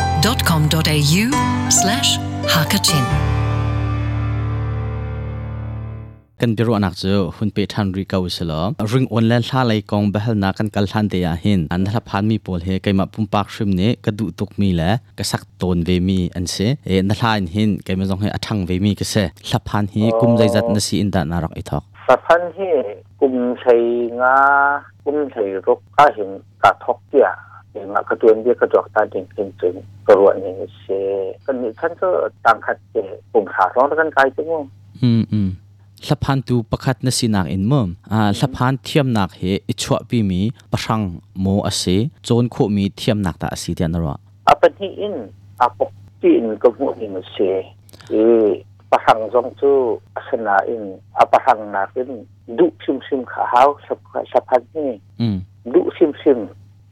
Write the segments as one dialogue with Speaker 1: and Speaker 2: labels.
Speaker 1: sbs.com.au slash hakachin
Speaker 2: kan biru anak chu hun pe than ri kau selo ring online hla lai kong behal na kan kal han te ya hin an thla phan mi pol he kaima pum pak shrim ne ka du tuk mi la ka sak ton ve mi an se e na hla in hin kaima jong he athang ve mi ka se hla phan hi kum jai jat na si in da na rak i thok
Speaker 3: สัตว์พันธุ์ที่กลุ่มชัยงา กลุ่มชัยรกก้าเห็นกาทอกเกียเห็นมากระตวนเดียกระจอกตาเด่งเห็นจึงกระรวนนี่เชกันนี่ฉันก็ต่างขัดเจกลุ่มขาร้องแล้วกันไกลจังง
Speaker 2: อืมอืมสะพานตูประคัดนสินักอินมอมอ่าสะพานเทียมนักเฮอิชวปีมีประชังโมอาเซโจนโคมีเทียมนักตาอาเซีเดียนรอ
Speaker 3: อาเป็นที่อินอาปกจีอินก็หัวอินมาเชเออประหังจงจูอาสนาอินอาประหังนาขึ้นดุชิมชิมขาเฮาสับสับพันนี่
Speaker 2: อืม
Speaker 3: ดุชิมชิม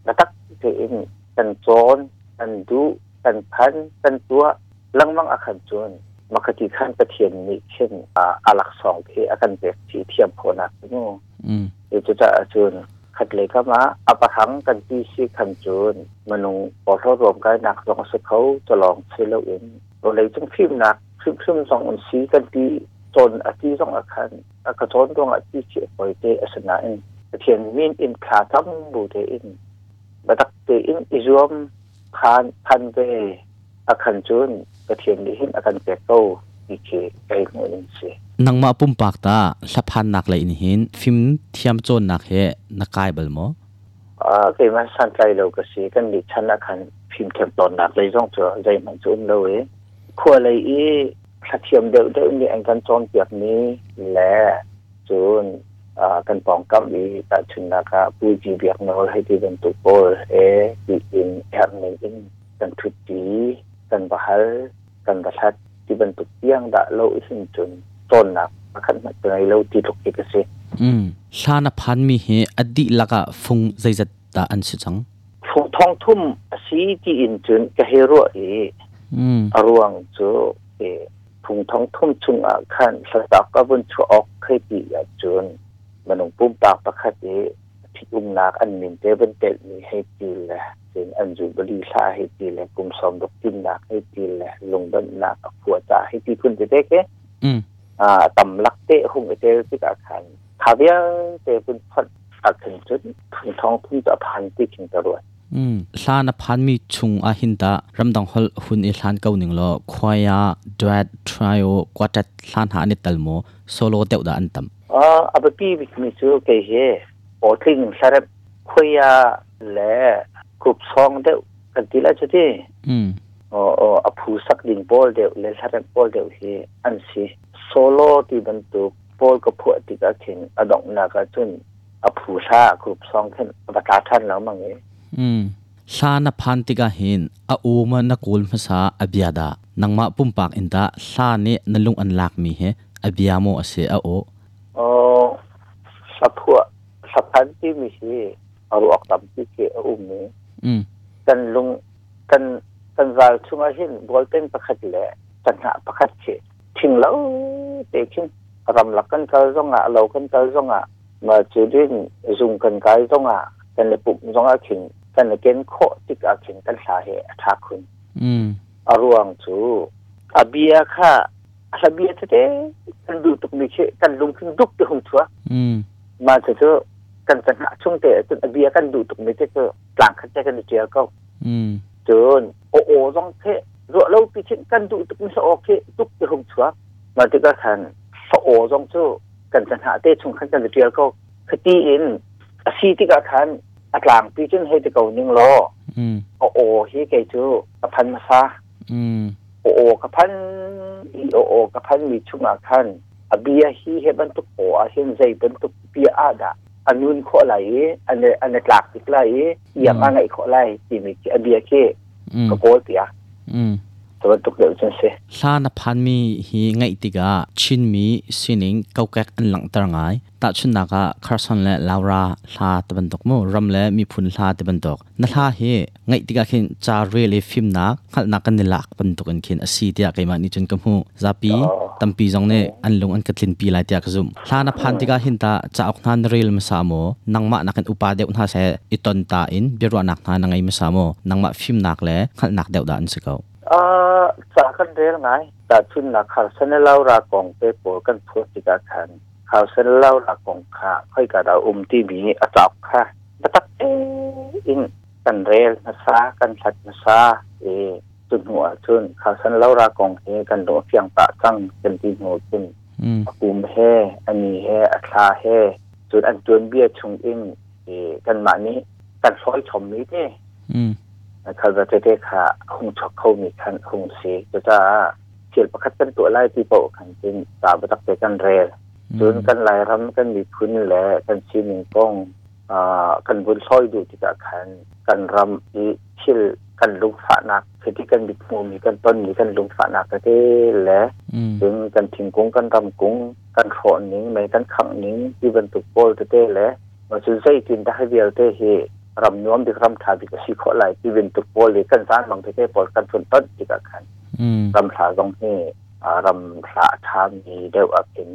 Speaker 3: นะตักเจอินตันโจนตันดุตันพันตันตัวลังมังอาคันจวนมักติขั้นประเทียนนี่เช่นอาอาหลักสองเพอาคันเบกทีเทียมโพนักนู่น
Speaker 2: อืม
Speaker 3: เอจุจะอาจุนขัดเลยก็มาอัปะทังกันที่ชีคันจูนมนุงปอทรวมกันหนักลองสุดเขาจะลองเซลเองตัวเลยจึงพิมพ์หนักพิมพ์พิมพ์สองอันสีกันที่จนอาทิตย์สองอาคันอากระทนตรงอาทิตย์เจ็บป่อยเตอสนาเองเทียนมินอินคาทั้งบูเตอินบัตักเตอินอิจวมคานพันเตอาคันจูนกระเทียนดิหินอาคันเปโตอีเคไกโมอินเซ
Speaker 2: นังมาปุ่มปากตาสะพานนักเลยอินหินฟิมเทียมโจนนักเฮนักกายเบลโม
Speaker 3: อ่าเป็นมันสันใจเราก็สีกันดิฉันอาคันพิมพ์เข็มตอนหนักเลยต้องเจอใจมันจุ่มเลยครัวเลยอีกระเทียมเดือดเดือดมีอันกันจอนเปียกนี้และจูนอ่ากันปองกับอีตาชุนนะครับปูจีเบียกโนให้ที่เป็นตุกโปเอดีอินแอมเนอินกันทุตีกันบะฮัลกันบะชัดที่เป็นตุกเตี้ยงดะโลอิสินจุนต้นหนักมาขันมาเจอเราที่ถูกอีกสิ
Speaker 2: อืมลานะพันมีเฮอดีลักะฟงใจจัดตาอันสุจัง
Speaker 3: ผู้ท้องทุ่มสีจีอินจุนกะเฮรัวเอ
Speaker 2: อืม
Speaker 3: อรวงจูเอผงท้องทุ่มชุงอาคันสตักก็บนชัวออกเคยปีอาจุนมันงปุ้มปากประคัดเอพิอุมนักอันมินเตเป็นเตมีให้ตีแหละเป็นอันจูบรีลาให้ตีแหละกลุ่มสอมดกจินนักให้ตีแหละลงดันนักผัวจ่าให้ตีพุ่นจะได้แก
Speaker 2: อืม
Speaker 3: อ่าตำลักเตะหุงเตะติดอาคันคาเบียเตเป็นพัดอักถึงจุดผงท้องทุ่มจะพันที่ขิงตรวจ
Speaker 2: อืมลานะพันมีชุงอาหินตารำดังฮอลหุนอีลานเกาหนึ่งลอควายาดวดทริโอกวาจัดลานหานิตัลโมโซโลเตวดาอันตัม
Speaker 3: อ่าอัปปีบิกมิจูเกเฮโอทิ้งสารบคุยาและ กรุบซองเดียวกันทีละจุดที่
Speaker 2: อืม
Speaker 3: โอ้โอ้อภูสักดิงโบอลเดียวเลสารันโบอลเดียวที่อันสิโซโลที่บรรทุกโบอลกับพวกติดอาถินอดองนากาจุนอภูชากรุบซองขึ้นอปตาท่านแล้วมั้งเอ้
Speaker 2: อืมลานะพันติกาหินอาอูมนักูลภาษาอเบียดานังมาปุ่มปากอินตาลาเนนลุงอันลากมีเฮอเบียโมอเสอโอ
Speaker 3: โอ้สัพพวสัพพันที่มีชีเอาออกตามที่เกออุ้มนี้
Speaker 2: อืม
Speaker 3: กันลุงกันกันวาวชุงอาหินบอลเป็นประคัดแหละตันหาประคัดเชถึงแล้วเตชินรำลักกันกาซ่องอ่ะเรากันกาซ่องอ่ะมาจูดินซุงกันกายซ่องอ่ะกันเลยปุ่มซ่องอาขิงกันเลยเกนโคติกอาขิงกันสาเหตุทาคุณ
Speaker 2: อืม
Speaker 3: อรวงจูอาเบียค่ะอาเบียเตเตกันดูตุกมิเชกันลุงขึ้นดุกตุหงชัว
Speaker 2: อืม
Speaker 3: มาเถอะเถอะกันสนะช่วงเตะจนอาเบียกันดูตุกมิเชก็หลังคัดใจกันเจียก็
Speaker 2: อืม
Speaker 3: 전 오오 정태 로로 비친 간두 뚝서 오케 뚝대 홍추아 마드가 산 서오 정추 간산하 대충 간산의 뒤알고 그띠인 시디가 간 아랑 비친 헤드가 오닝로
Speaker 2: อืม
Speaker 3: 오오 히게주 아판마사
Speaker 2: อืม
Speaker 3: 오오 가판 이 오오 가판 미충아 간 아비아 히 헤반뚝 오아 헨제이 반뚝 비아다 안눈 코라이 안에 안에 락 디클라이 이양아가 이코라이 디미치 아비아케
Speaker 2: อืม
Speaker 3: ก็โกเสีย
Speaker 2: อืม
Speaker 3: ตัวตุกเดือดจังสิ
Speaker 2: ลานาพันมีฮีไงติกาชินมีสินิงเกาแกกอันหลังตรงไงตาชุนนากาคาร์สันและลาวราลาตะบันตกโมรำและมีพุนลาตะบันตกนาลาเฮไงติกาเข็นจาเรเลฟิมนักขัลนักกันนลักปันตกอันเข็นอสีเดียไกมานี่จนกำหูซาปีตัมปีจงเนอันลงอันกัดลินปีลายเดียกซุมลานาพันติกาเห็นตาจะออกนานเรลมาสามนังมานักันอุปาเดอุนฮาเซอิตอนตาอินเบียรวนักนานังไงมาสามนังมาฟิมนักและขัลนักเดวดาอันสเกา
Speaker 3: อ่าจากกันเรียงไงแต่ชุนนักข่าวเสนเล่ารากองไปโปรกันพูดติกาคันข่าวเสนเล่ารากองข่าค่อยกระดาอุ้มที่มีอาจอกค่ะมาตักเออินกันเรียลมาซากันสัดมาซาเอจุนหัวชุนข่าวเสนเล่ารากองเฮกันโดเพียงปะจังกันที่หัวชุน กุมแฮอันนี้แฮอัคลาแฮจุดอันจวนเบี้ยชงอิงเออกันมานี้กันซ้อยชมนี้เด้
Speaker 2: อืม
Speaker 3: นะครับว่าจะได้ค่ะคงชกเข้ามีคันคงสีจะจะเขียนประคัดเป็นตัวไล่ที่โปะขันจริงตามประตักเตกันเรลจนกันหลายรำกันมีพื้นนี่แหละกันชีหนึ่งก้องอ่ากันบนซ้อยดูที่กะขันกันรำอีชิลกันลุกฝานักคือที่กันบิดมูมีกันต้นมีกันลุกฝานักก็ได้แหละ
Speaker 2: อืม
Speaker 3: ถึงกันถิงกุ้งกันรำกุ้งกันขอนนิ้งไม่กันขังนิ้งที่บรรทุกโปรเต้แหละมาซื้อใส่กินได้เบียวเต้เฮรำน้อมดิกรำทาดิกสิขอไหลที่บรรทุกโปรเลยกันสร้างบางเต้ปอดกันฝนต้นดิกขัน
Speaker 2: อืม
Speaker 3: รำทาตรงเฮอ่ารำทาทามีเดวอับเป็น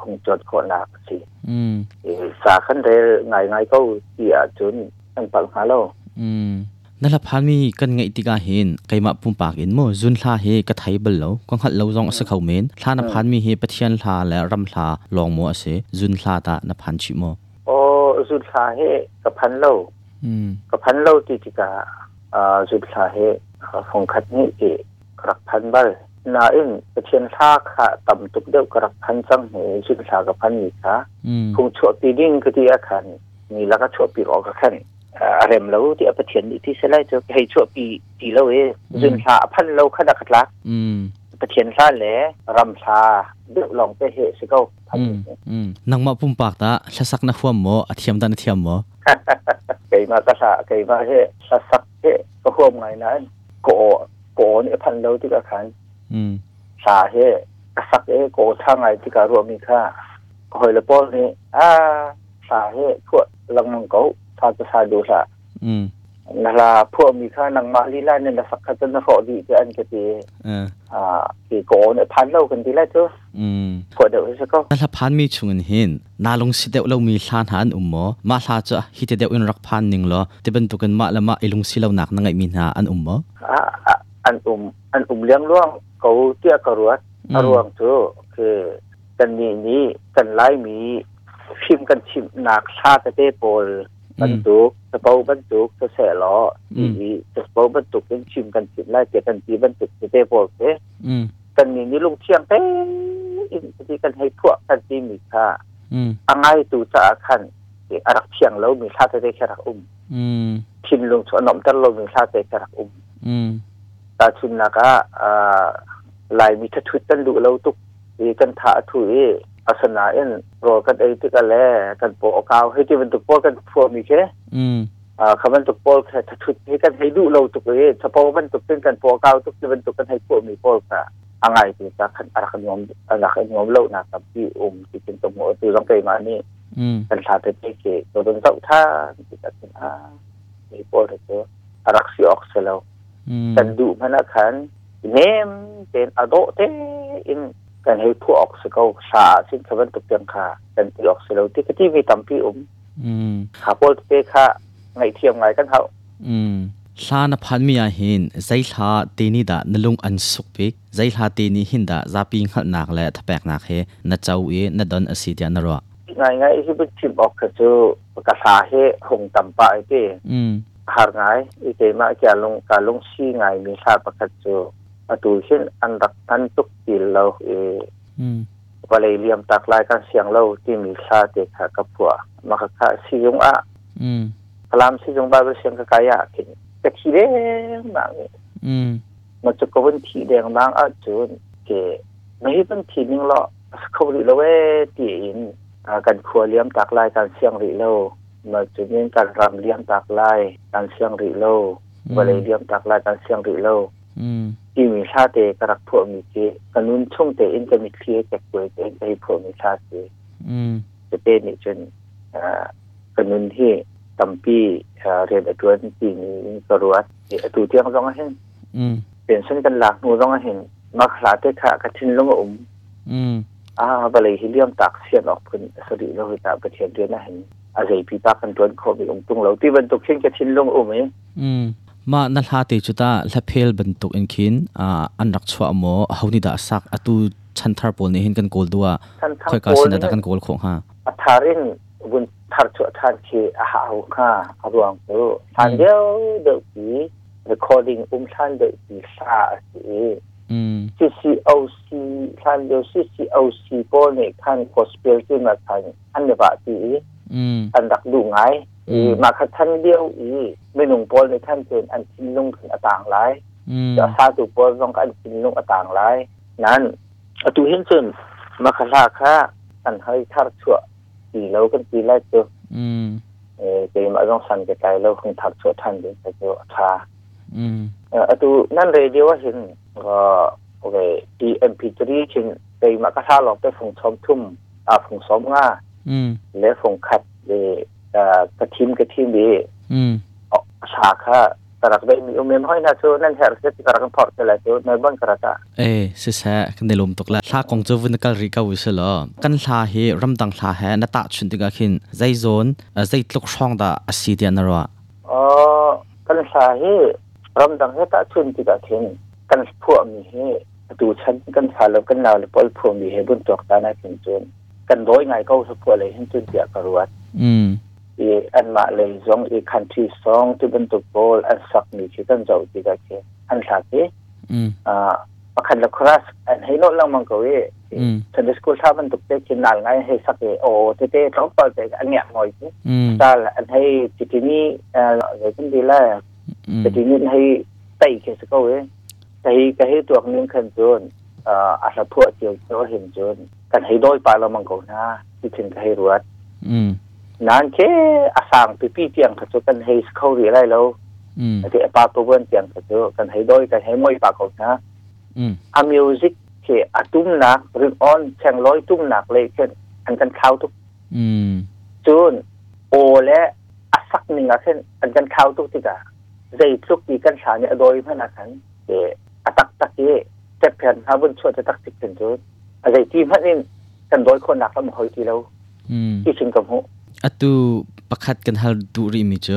Speaker 3: คงจดขอนักสิ
Speaker 2: อืม
Speaker 3: เอ่อสาขันเรลไงไงก็เสียจนตั้งปังหาเรา
Speaker 2: อืมนั่นละพามีกันไงติกาเห็นไกมาปุ่มปากเห็นโมจุนลาเฮกะไทบัลเลากังหัดเลาจองอสเขาเมนลานะพานมีเฮปะเทียนลาและรำลาลองโมอเสจุนลาตานะพานชิโม
Speaker 3: โอ้สุดทาเฮกับพันเรา
Speaker 2: อืม
Speaker 3: กับพันเล่าติจิกาอ่าสุดสาเหตุของคัดนี้เอกรักพันบัลนาอินกระเทียนท่าค่ะต่ำตุกเดียวกรักพันสังเหสุดสากับพันอีกค่ะ
Speaker 2: อืม
Speaker 3: คงชั่วปีดิ้งคือที่อาคันมีแล้วก็ชั่วปีออกกับขันอ่าเรมแล้วที่อภิเทียนอีกที่เสไลายจะให้ชั่วปีตีเล่าเอ
Speaker 2: อืม
Speaker 3: สุดสาพันเล่าขนาดขัดลัก
Speaker 2: อืม
Speaker 3: กระเทียนท่าแหลรำชาเดือดลองไปเหตุสิเก้าพัน
Speaker 2: อืม อืมนังมาปุ่มปากตาชะสักนะความโมอเทียมตานะเทียมโม
Speaker 3: ไก่มากระสาไก่มาเหตุสักเหตุก็ควมไงนะโกโกเนี่ยพันเล่าที่อาคัน
Speaker 2: อืม
Speaker 3: สาเหตุกษัตริย์เอโกท่าไงที่การรวมมีค่าหอยละโป้อนี่อ่าสาเหตุพวกลังมังเกาทางประชาดูสะ
Speaker 2: อืม
Speaker 3: นาลาพวกมีค่านังมาลีลาเนี่ยละสักขันนรอดีจะอันกะตี
Speaker 2: เออ
Speaker 3: อ่ากีโกเนี่ยพันเล่ากันดีแล้วเจ้า
Speaker 2: อืม
Speaker 3: พวกเดี๋ยวจะก็
Speaker 2: นั่นละพานมีชุงเงินหินนาลงสิเดวเรามีลานหานอุมหมอมาลาจะฮิตเดวอินรักพานหนึ่งเหรอแต่เป็นตุกันมาละมาไอลงสิเลาหนักนังไอมีนาอันอุมหมอ
Speaker 3: อ่าอ่าอันอุ่มอันอุ่มเลี้ยงร่วงเขาเตี้ยกระรวด
Speaker 2: อืม
Speaker 3: กระรวงเจ้าคือกันมีนี้กันไล่มีพิมพ์กันชิมหนักชาติเต้โปล บรรทุกกระเป๋าบรรทุกกระแสล้อ
Speaker 2: อื
Speaker 3: อี
Speaker 2: ม
Speaker 3: อีกระเป๋าบรรทุกเป็นชิมกันชิมไล่เจกันทีบรรทุกจะได้บอกเอ๊ะ
Speaker 2: อืม
Speaker 3: กันนี่นี่ลุงเชียงเต้อินทีกันให้พวกกันทีมีค่า
Speaker 2: อืม
Speaker 3: อังไงตูจะอาคันเอออารักเชียงแล้วมีค่าจะได้แค่รักอุ้ม
Speaker 2: อืม
Speaker 3: ชิมลุงสวนหนอมตันเรามีค่าจะได้แค่รักอุ้ม
Speaker 2: อืม
Speaker 3: ตาชุนนากะอ่าลายมีทะทุดกันดูเราตุกเออกันถาถุยอาสนาเอ็นรอกันเอยที่กันแลกันโปะกาวให้ที่บรรทุกพวกกันพวกมีแค่
Speaker 2: อืม
Speaker 3: อ่าคำบรรทุกโปรแค่ทุดให้กันให้ดูเราตุกเลยเฉพาะบรรทุกเป็นกันโปรเก้าตุกจะบรรทุกกันให้พวกมีโปรค่ะอะไรที่จะขันอาขนมอาขนมเล่านะครับที่อมที่เป็นตัวหมดตัวต้องไปมานี่
Speaker 2: อืม
Speaker 3: กันชาเป็นเกตตัวเป็นเจ้าท่าที่จะเป็นอามีโปรตัวอารักษีออกเสร็จแล้ว
Speaker 2: อืม
Speaker 3: กันดูพนักขันเนมเป็นอโดเตอินกันให้ผู้ออกสเกลชาซึ่งคำบรรทุกเตียงค่ะกันที่ออกเสร็จแล้วที่ที่มีตัมพี่อม
Speaker 2: อืม
Speaker 3: ขาโปรเตค่ะไงเทียมไงกันเขา
Speaker 2: อืมลานพันมีอาหินใจลาเตนิดานลงอันสุกปิกใจลาเตนิหินดาซาปิงขัดนักและทะแปกนักเฮนะเจ้าเอนะดอนอสิเดียนรอ
Speaker 3: ไงไงที่เป็นชิมออกกระจูกระสาเฮหงต่ำปะไอ้ที่
Speaker 2: อืม
Speaker 3: หาดไงอีเตมาจะลงการลงชี้ไงมีชาประกระจูประตูเช่นอันดักนั้นตุกตีเราเอ
Speaker 2: อืม
Speaker 3: วะเลยเหลียมตักลายกันเสียงเราที่มีชาเตะขากระพัวมาคาซียงอะ
Speaker 2: อืม
Speaker 3: พลามซียงบาเปเสียงกะกายะกินกะทีเด้มากนี่
Speaker 2: อืม
Speaker 3: มันจะกวนทีแดงบางอะจูนเกไม่ให้เป็นทีนึงหรอกเขาหรือเราเวตีอิน อ่ากันครัวเลี้ยงตากลายการเชียงริโลมาจุดนี้การรำเลี้ยงตากลายการเชียงริโลบริเลี้ยงตากลายการเชียงริโล
Speaker 2: อืม
Speaker 3: ที่มี มีชาเตกรักพวกมีเจกนุนช่วงเตอินจะมีเคลียร์แจกป่วยเตอินไปพวกมีชาเต
Speaker 2: อืม
Speaker 3: จะเตนี่จนอ่ากนุนที่ตำปีอ่าเรียนอดวนปีนี้อินกรวดเอตูเทียมต้องเห็น
Speaker 2: อืม
Speaker 3: เปลี่ยนเส้นกันหลักหนูต้องเห็นมาขลาเตขะกะทินลงมาอุม
Speaker 2: อืม
Speaker 3: อ่าบริฮิเลียมตักเสียนออกเพิ่นสริโลหิตาประเทศเดือนนะเห็นอาศัยพี่ปักกันตวนโควิดองตุงเราที่บรรทุกเช่นกระทินลงอุ้มเอ้ย
Speaker 2: อืมมานัลฮาติจุตาละเพลบันตุกอินคินอ่าอันรักชวอโมเฮานี่ดาสักอตุชันทารปอลนี่เห็นกันโกลดัว
Speaker 3: ท่านทั้ง
Speaker 2: ค่อย
Speaker 3: โก
Speaker 2: กาสิ
Speaker 3: น
Speaker 2: นะดากันโกลของฮะ
Speaker 3: อัธารินบุญทารจุทานเคอาหาเอาค่าอรวงตัวทานเดียวเดือกี recording อุ้มท่านเดือกีซาสี
Speaker 2: อืม
Speaker 3: CCOC ท่านเดียว CCOC โปเนี่ยท่านโคสเปียขึ้นมาท่านอันเดบะตี
Speaker 2: อืม
Speaker 3: อันดักดูไง
Speaker 2: อืม
Speaker 3: มาคัดท่านเดียวอีไม่หนุ่งโปเลยท่านเป็นอันทิ้งลงถึงอต่างหลาย
Speaker 2: อืม
Speaker 3: จะซาตุปอต้องการกินนกอต่างหลาย นั้นอตุเห็นซึนมาคลาค่าอันให้ทารชั่วตีเรากันตีแรกเจอ
Speaker 2: อืม
Speaker 3: เออเกมอาต้องสันกระจายเราคงทารชั่วทันเดินไปเจอทา
Speaker 2: อืม
Speaker 3: เอออตุนั่นเลยเดียวว่าเห็นก็โอเคดีเอ็มพีทรีชินเกมากระทาลองไปฝงชมทุ่มอ่าฝงซ้อมง่า
Speaker 2: อืม
Speaker 3: และฝงขัดเอออ่ากระทิมกระทิมดี
Speaker 2: อืม
Speaker 3: ออกฉากค่าตรักได้มีอุเมนห้อยนาโชนั่นแถวเสติกรักพอร์ตอะไรเจอในบ้านกระตา
Speaker 2: เอ้เสยแสะกันได้ลมตกละลากองเจาวุนกัลริกาวิสลอกันลาเฮรำดังลาเฮนตาชุนติกาคินใจโซนอ่าใจตลกช่องดาอาศิเดียนนรวะ
Speaker 3: อ๋อกันสาเหตุรำดังให้ตาชุนติกาเทนกันพวกมีให้ประตูชั้นกันสาลบกันลาวหรือปอลพวกมีให้บนตอกตาหน้าถึงจนกันร้อยไงก็สพวกเลยให้จนเดียกรวด
Speaker 2: อืม
Speaker 3: เออันมาเลยสองเอคันที่สองที่บรรทุกโบลอันสักมีที่กันเจ้าติกาเทนอันสาเหตุ
Speaker 2: อืม
Speaker 3: อ่าประคันละคราสอันให้โนลังมังกเว
Speaker 2: อืม
Speaker 3: ฉันดิสกูลชาบรรทุกเตกินนานไงให้สักเอโอเตเต้ต้องต่อใจอันเนี้ยหน่อยสิ
Speaker 2: อืม
Speaker 3: ตาละอันให้จิตนี้เอ่อเลยกันดีแล้ว
Speaker 2: อืม
Speaker 3: แต่ทีนี้ให้ไต่เขสก็เว้ยแต่ให้ก็ให้ตัวนึงขันจนเอ่ออาสาพวกเจียวเจียวเห็นจนกันให้ด้อยปลาเรามังกรนะที่ถึงก็ให้รวด
Speaker 2: อืม
Speaker 3: นานเคอาสางปีปีเตียงขัดจกันให้เข้าเรียไรแล้ว
Speaker 2: อืม
Speaker 3: แต่ปลาตัวเบิ้นเตียงขัดจกันให้ด้อยกันให้มวยปลาเขานะ
Speaker 2: อืม
Speaker 3: อามิวสิกเคอาตุ้มหนักหรือออนแข่งร้อยตุ้มหนักเลยเช่นอันกันเข้าวทุก
Speaker 2: อืม
Speaker 3: จนโอและอาสักหนึ่งอะเช่นอันกันเข้าวทุกทีกะ ใจทุกทีกันสาเนี่ยโดยพนักขันเอออะตักตักเยเจ็บแผ่นหาบนช่วยจะตักสิบเป็นจุดอะไรที่มันเองกันโดยคนหนักแล้วมันคอยทีแล้ว
Speaker 2: อืม
Speaker 3: ที่ชิงกับหู
Speaker 2: atu pakhat kan hal duri mi chu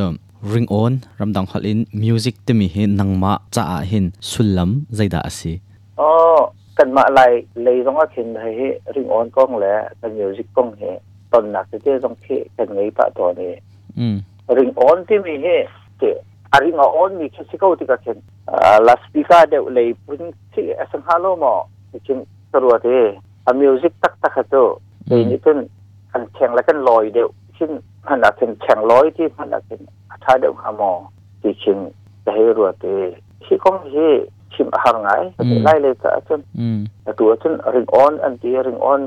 Speaker 2: ring on ramdang hal in music te mi he nangma cha a hin sulam zaida asi
Speaker 3: อ๋อกันมาอะไรเลยต้องเอาเข็นให้ริงออนกล้องแล้วกันมิวสิกกล้องเหตอนหนักจะเจ้ต้องเคกันไงปะตอนนี้
Speaker 2: mm
Speaker 3: ริงออนที่มีเหเจอาริงออนมีแค่สิเขาที่กัเข็นอ่าลาสปิกาเดวเลยพุ่งที่สังหาโลมอที่ชิงตรวจเออามิวสิกตักตักตัว เดี๋ยว
Speaker 2: mm
Speaker 3: นี้เป็นอันแข่งแล้วกันลอยเดียวซึ่งมันอาจเป็นแข่งร้อยที่มันอาจเป็นท้ายเดียวหาหมอที่ชิงจะให้รัวเตะที่ของที่ชิมอาหารไง
Speaker 2: อืม
Speaker 3: ไล่เลยจ้ะจน
Speaker 2: mm
Speaker 3: แต่ตัวจนริงออนอันที่ริงออน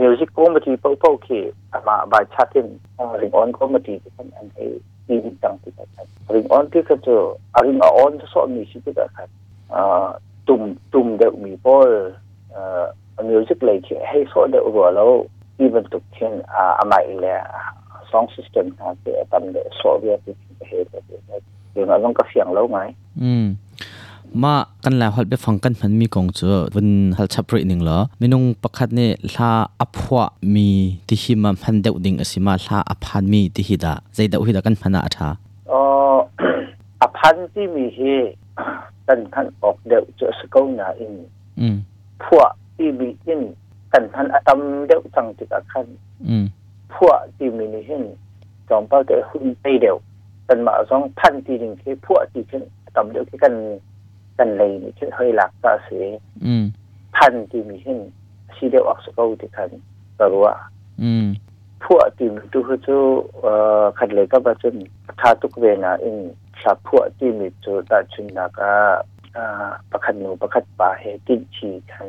Speaker 3: มิวสิกก็มาทีเป้าเป้าๆเคอามาบายชาตินริงออนก็มาทีที่มันอันไอ้มีต่างที่กันริงออนที่เขาเจอริงออนที่สอนมีชีวิตกันอ่าตุ่มตุ่มเดียวมีเป้าเอ่อมิวสิกเลยที่ให้สอนเดียวรัวแล้ว ที่บรรทุกเช่นอ่าอามาอีกแล้วสองสิสเต็มครับที่ทำเดียวสอนเดียวที่เหตุแบบนี้เดี๋ยวเราต้องกระเสียงแล้วไหม
Speaker 2: mm ma kan la hal be fang kan phan mi kong chu bun hal chapri ning lo minung pakhat ne la aphwa mi ti hi ma phan deu ding asima la aphan mi ti hi da zaida u hi da kan phana atha
Speaker 3: เออ อพันธ์ที่มีเฮ กันท่านออกเดวเจอสเกลนาอิน
Speaker 2: mm
Speaker 3: พวกที่มีอินกันท่านอตัมเดวสังจิกอาคัน
Speaker 2: mm
Speaker 3: พวกที่มีนิหินจอมเป้าแต่หุ่นไปเดวกันมาสองพันที่หนึ่งที่พวกที่เช่นอตัมเดวที่กันกันเลยนี่เช่นเฮยหลักตาเสีย
Speaker 2: mm
Speaker 3: พันที่มีหินสีเดวออกสเกลที่คันแต่ว่า
Speaker 2: mm
Speaker 3: พวกทีมดูเขาจะเอ่อขัดเลยก็ประจุนทาตุกเวนาอินสับพวกที่มีจุดตาชุนนักอ่าอ่าประคันหนูประคัดป่าเฮตินชีกัน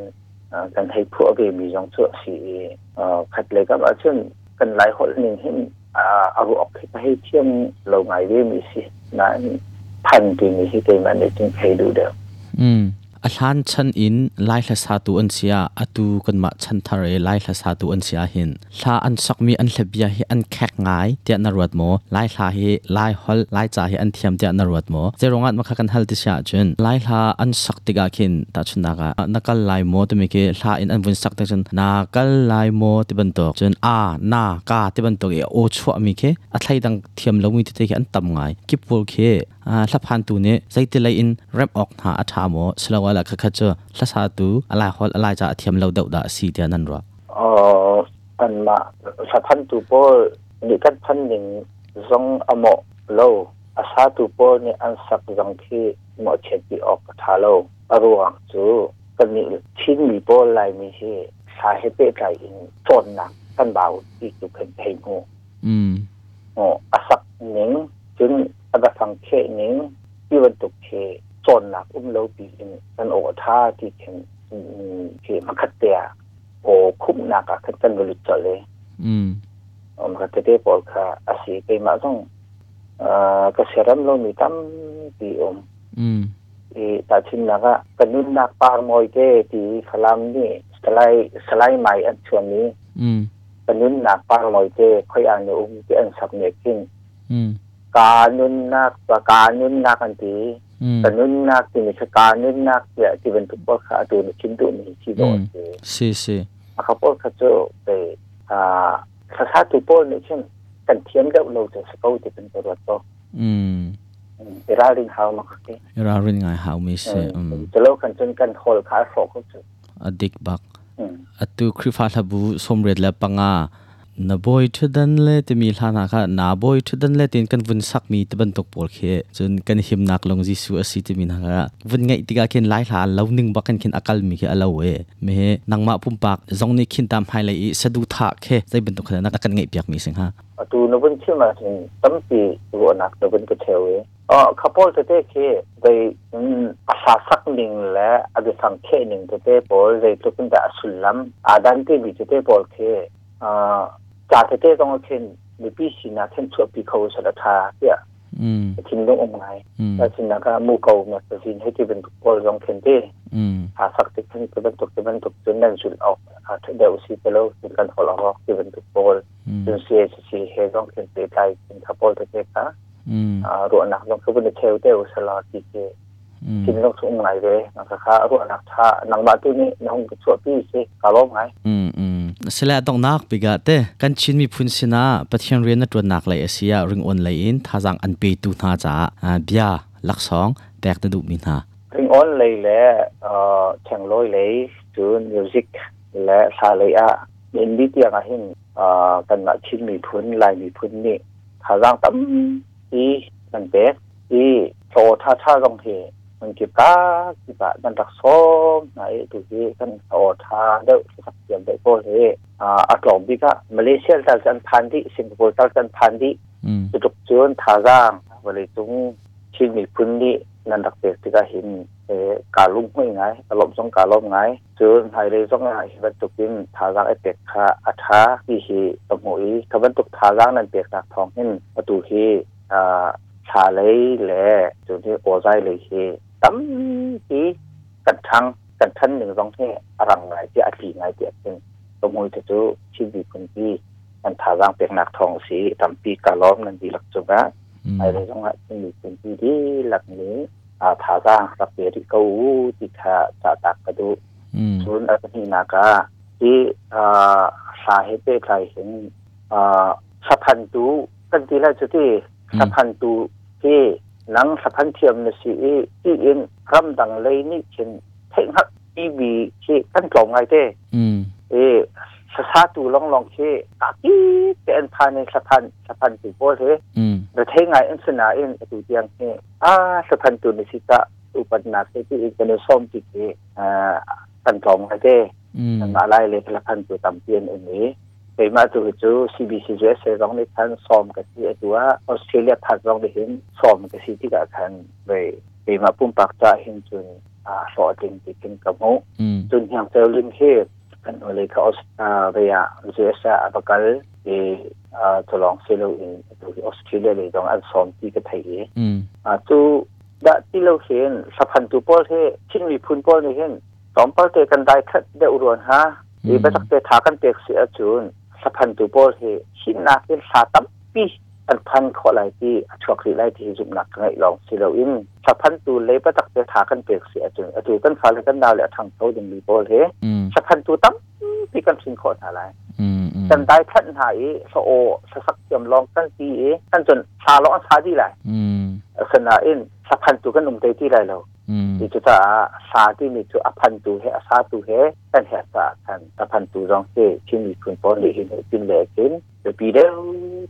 Speaker 3: อ่ากันให้พวกเวมีจองเสือสีเอ่อขัดเลยก็ประจุนกันหลายคนหนึ่งเห็นอ่าเอาออกไปให้เที่ยงเราไงเวมีสินั้นพันที่มีที่เต็มอันนี้จึงให้ดูเดียว
Speaker 2: อืม a hlan chan in lai hla sa tu an sia atu kan ma chan thare lai hla sa tu an sia hin hla an sak mi an hlebia hi an khak ngai te na ruat mo lai hla hi lai hol lai cha hi an thiam te na ruat mo zerongat makha kan hal ti sia chen lai hla an sak ti ga khin ta chun na ga a nakal lai mo te mi ke hla in an vun sak ta chen nakal lai mo te ban tok chen a na ka te ban tok e o chwa mi ke a thlai dang thiam lo mi te te ki an tam ngai ki pul ke อ่าหลับพันตูเนี่ยใจเตลัยอินเรับออกหาอาถามอสลาวะละคักๆเจอหลับสาตูอะไรฮอลอะไรจะเทียมเราเดาดาสีเดียนั่นหรอ
Speaker 3: อ๋ออันมาสะพันตูโปนี่กันพันหนึ่งซองอโมโลอาสาตูโปนี่อันสักจังที่หมอเช็ดปีออกทาโลอรวงจูกันนี่ชิ้นมีโปลายมีที่สาเหตุเป็นไรอินโซนหนักกันเบาอีกอยู่เพิ่นเพลงงู
Speaker 2: อืม
Speaker 3: โอ้อาศักหนิงจึงอาศักสังเคหนิงที่วันตุกเคจนหนักอุ้มเลวปีอินนันโอท่าที่เข็มอืมเขมะคัดเตียโอคุ้มหนักอะขึ้นกันบริจาเลย
Speaker 2: อืม
Speaker 3: โอ้มะคัดเตียได้ปอลค่ะอาศัยไปมาต้องเอ่อกระเสรัมเรามีตั้มปีอม
Speaker 2: อืม
Speaker 3: อีตาชินนักอะกะนุ่นนักปารมอยเกที่คลามนี่สไลด์สไลด์ใหม่อันชวนนี้
Speaker 2: อืม
Speaker 3: กะนุ่นนักปารมอยเกค่อยอ่านในอุ้มที่อันสักเนี่ยขึ้น
Speaker 2: อืม
Speaker 3: การนุนนักประการนุนนักอันที
Speaker 2: อืม
Speaker 3: แต่นุนนักที่มีชะการนุนนักเนี่ยที่เป็นทุกข์ขาดูในชิ้นดูมีที่โดน
Speaker 2: อืม
Speaker 3: คือ
Speaker 2: สิสิ
Speaker 3: มาเขาพูดเขาเจอไปอ่าภาษาตุโปนเนี่ยเช่นกันเทียมกับเราจะสเกาจะเป็นตัวตัว
Speaker 2: อืม
Speaker 3: อืมเวลาเรินเขามาเขาเนี่ย
Speaker 2: เราเรื่องไงหาวมี
Speaker 3: เอ
Speaker 2: สิ
Speaker 3: ออ
Speaker 2: อืม
Speaker 3: จะเล่ากันจนกันโคลขาโศกเขาเจอ
Speaker 2: อดิกบัก
Speaker 3: อืม
Speaker 2: atu khrifa thabu somret la panga na boy thudan le te mi lana kha na boy thudan le tin kan vun sak mi te ban tok por khe chun kan him nak long ji su asi te mi na kha vun ngai tika ken lai hla lo ning ba kan kin akal mi ke alo we me he nang ma pum pak zong ni khin tam hai lai i sadu tha khe zai ban tok khana na kan ngai piak mi sing ha
Speaker 3: ประตูนบุนชื่อมาถึงตั้มปีรัวนักนบุนก็เทวเออ๋อข้าพเจ้าเต้เคไปอืมอาสาสักหนึ่งและอาจจะสังเคหนึ่งเต้ปอลเลยทุกคนแต่อสุลลัมอาดันที่บิจเต้ปอลเคอ่าจากเต้ต้องเอาเช่นหรือพี่สินะเช่นชั่วปีเขาสารทาเนี่ย
Speaker 2: อืม
Speaker 3: ทิ้งลงองค์ไหน
Speaker 2: อืม
Speaker 3: แล้วสินะก็มูเก่ามาตัดสินให้ที่เป็นปอลรองเคนเต้
Speaker 2: อืม
Speaker 3: อาสักติดที่เป็นตกที่เป็นตกจนนั่นสุดออกอาเดวซีเปโลถึงการขอร้องที่เป็นตกปอล
Speaker 2: อืม
Speaker 3: ซึ่ง CHC เฮดองเขียนเตไทยสิงคโปร์ตะเกะ
Speaker 2: อืม
Speaker 3: อ่ารวนักลงคือเป็นเทลเตลสลอตีเก
Speaker 2: อืม
Speaker 3: ทินลงสูงไหนเว้ยนะคะค่ะรวนักท่านังบาตุนี่น้องสวดพี่สิกาลมไง
Speaker 2: อืมอืมสละต้องนักปิกะเตกันชินมีพุนสินะปะเทียนเรียนนัดวนนักไลเอเซียริงออนไลน์ทาจังอันเปตูทาจาอ่าเบียลักสองแตกตะดุมินหา
Speaker 3: ถึงอ้นเลยแหละเอ่อแข่งร้อยเลยจูนมิวสิกและซาเลยอะอินดีเตียงอะหินเอ่อกันมาชิ้นมีพุ้นลายมีพุ้นนี่ขาร่างตั้มอีมันเบสอีโซท่าท่าลงเทมันเก็บกากี่บาทมันรักซ้อมไหนดูที่กันโอทาเด้อสักเดียมได้โปเฮอ่าอัตลองบิกะมาเลเซียตัดจันพันที่สิงคโปร์ตัดจันพันที่
Speaker 2: อืม
Speaker 3: จุดจวนทาร่างบริจุงชินมีพื้นนี้นันดักเบสที่ก็เห็นเออกาลุ่มห้วยไงกาลมสองกาลมไงจนไทยเลยสองไงบันตุกินทาร่างไอเป็ดคาอัฐาที่ฮีตะหมวยขบันตุกทาร่างนันเปียกหนักทองเห็นประตูฮีอ่า ชาเลยแหละจุดที่โอไซเลยเฮตั้มทีกันทังกันทันหนึ่งสองเทอรังไหนที่อาทีไหนเดียดหนึ่งสมุยจะจูชีวิตคนที่มันทาร่างเป็นหนักทองสีตั้มปีกาล้อมนันดีหลักจุกะ
Speaker 2: อืม
Speaker 3: ไอเลยสองละชีวิตคนที่ที่หลักนี้อาทาร่างสักเปียที่เกาติคาจะตักกระดู
Speaker 2: อืม
Speaker 3: ศูนย์อัตถินากาที่อ่าสาเหตุใครเห็นอ่าสัพพันตุกันทีแรกจุดที่สัพพันตุที่หนังสัพพันเทียมเนยสีที่อินรำดังเลยนี่เช่นเทคนิคที่บีที่กันกล่องไงเต้
Speaker 2: อืม
Speaker 3: เอสะสาตูลองลองเชตากีเป็นภายในสัพพันสัพพันตุโพเท
Speaker 2: อืม
Speaker 3: ประเทศไงอันสนาเอ็นตุเตียงเออาสพันตุนิสิตะอุปนาเซติอินเนส้มจิกเออ่าตันทองไฮเด
Speaker 2: อืม
Speaker 3: นันอะไรเลยพละพันตุตำเตียนอันนี้ไปมาตุจู CBC เจสร้องในทันซ้อมกับที่ตัวออสเตรเลียพัดร้องได้เห็นซ้อมกับที่ที่กับคันไปไปมาปุ่มปากจะเห็นจนอ่าสอจริงจิกินกับโม
Speaker 2: อืม
Speaker 3: จนอย่างเจอลิงเทพกันเลยเขาเอาอ่าเรียเสียสะอัปกัลเออ่าทดลองเซลล์อินตัวออสเตรเลียเลยตองอันซ้อมที่กระไทย
Speaker 2: อืม
Speaker 3: อ่าตู้ ดะที่เราเห็นสะพันตุโปลเทชิ้นมีพุนโปลนี่เห็นสองโปลเทกันได้คัดได้อุรวนฮะ
Speaker 2: อืม
Speaker 3: อีไปสักเตถากันเปียกเสียจูนสะพันตุโปลเทชิ้นหนักเป็นสาตับปีอันพันขอหลายที่อัชวกรีไลที่จุมหนักไงลองสิเราอินสะพันตุเลยไปสักเตถากันเปียกเสียจูนอตูกันฟ้าเลยกันดาวและทางเขาดึงมีโปลเท
Speaker 2: อืม
Speaker 3: สะพันตุตั้มที่กันสิ่งขอหาหลาย
Speaker 2: อืมอืม
Speaker 3: กันได้ท่านหายสะโอสะสักเตรียมลองกันตีเอท่านจนชาล้อชาที่ไหล
Speaker 2: อืม
Speaker 3: ขณะเอ็นสะพันตุกันหนุ่มเตยที่ไรเรา
Speaker 2: อืม
Speaker 3: อีจุตาชาที่มีจุอพันตุเฮอชาตุเฮท่านแหกตาท่านสะพันตุรองเตที่มีคุณป้อนหรือเห็นกินแหลกเห็นเดี๋ยวปีเดียว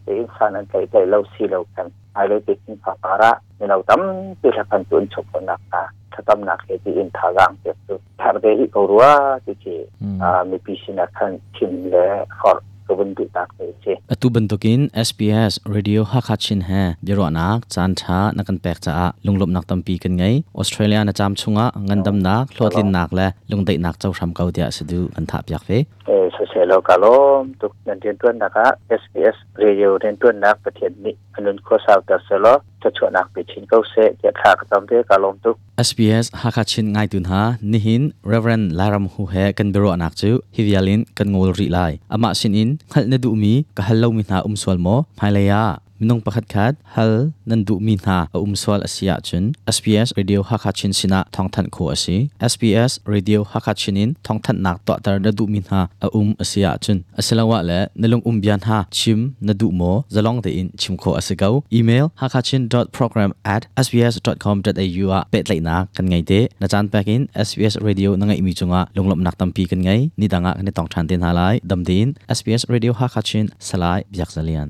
Speaker 3: เตยสานันใจใจเราสีเรากันไอเราติดกินฝาปาระในเราตั้มตุสะพันตุนชกคนหนักตาถ้าตั้มหนักเฮที่อินทารังเจ็บตุถ้าเตยเขารัวที่เจ
Speaker 2: อืม
Speaker 3: uh, maybe sinakan kim le for kebuntu tak se
Speaker 2: อตุบันตุกิน SBS Radio ฮักฮัดชินแฮเดี๋ยวรอนักจานช้านักกันแปลกจ้าลุงลบนักตัมปีกันไงออสเตรเลียนะจามชุงะเงินดำนักโลดลินนักและลุงเตะนักเจ้าทำเกาเดียสะดูอันทับอยากเฟ
Speaker 3: eh so se lo kalo tuk nan den tuan naka SPS radio den tuan nak patien ni anun ko sa ta se lo ta chu nak pe chin ko se ya kha ka tam te ka lom tuk
Speaker 2: SBS Hakachin ngai tun ha nihin Reverend Laram hu he kan biro anak chu hivialin kan ngol ri lai ama sin in khal na du mi ka hal lo mi na um swal mo phailaya minong pakhat khat hal nan du mi na a um swal asia chun SBS Radio Hakachin sina thong than kho asi SBS Radio Hakachin in thong than nak to tar na du mi na a um asia chun asalawa le nalong um bian ha chim na du mo zalong de in chim kho asigau email hakachin.program@sbs.com.au a pet lai na kan ngai te na chan pak in SBS radio na ngai mi chunga longlom nak tampi kan ngai ni danga kan tong than ten halai dam din SBS radio hakachin salai byak zalian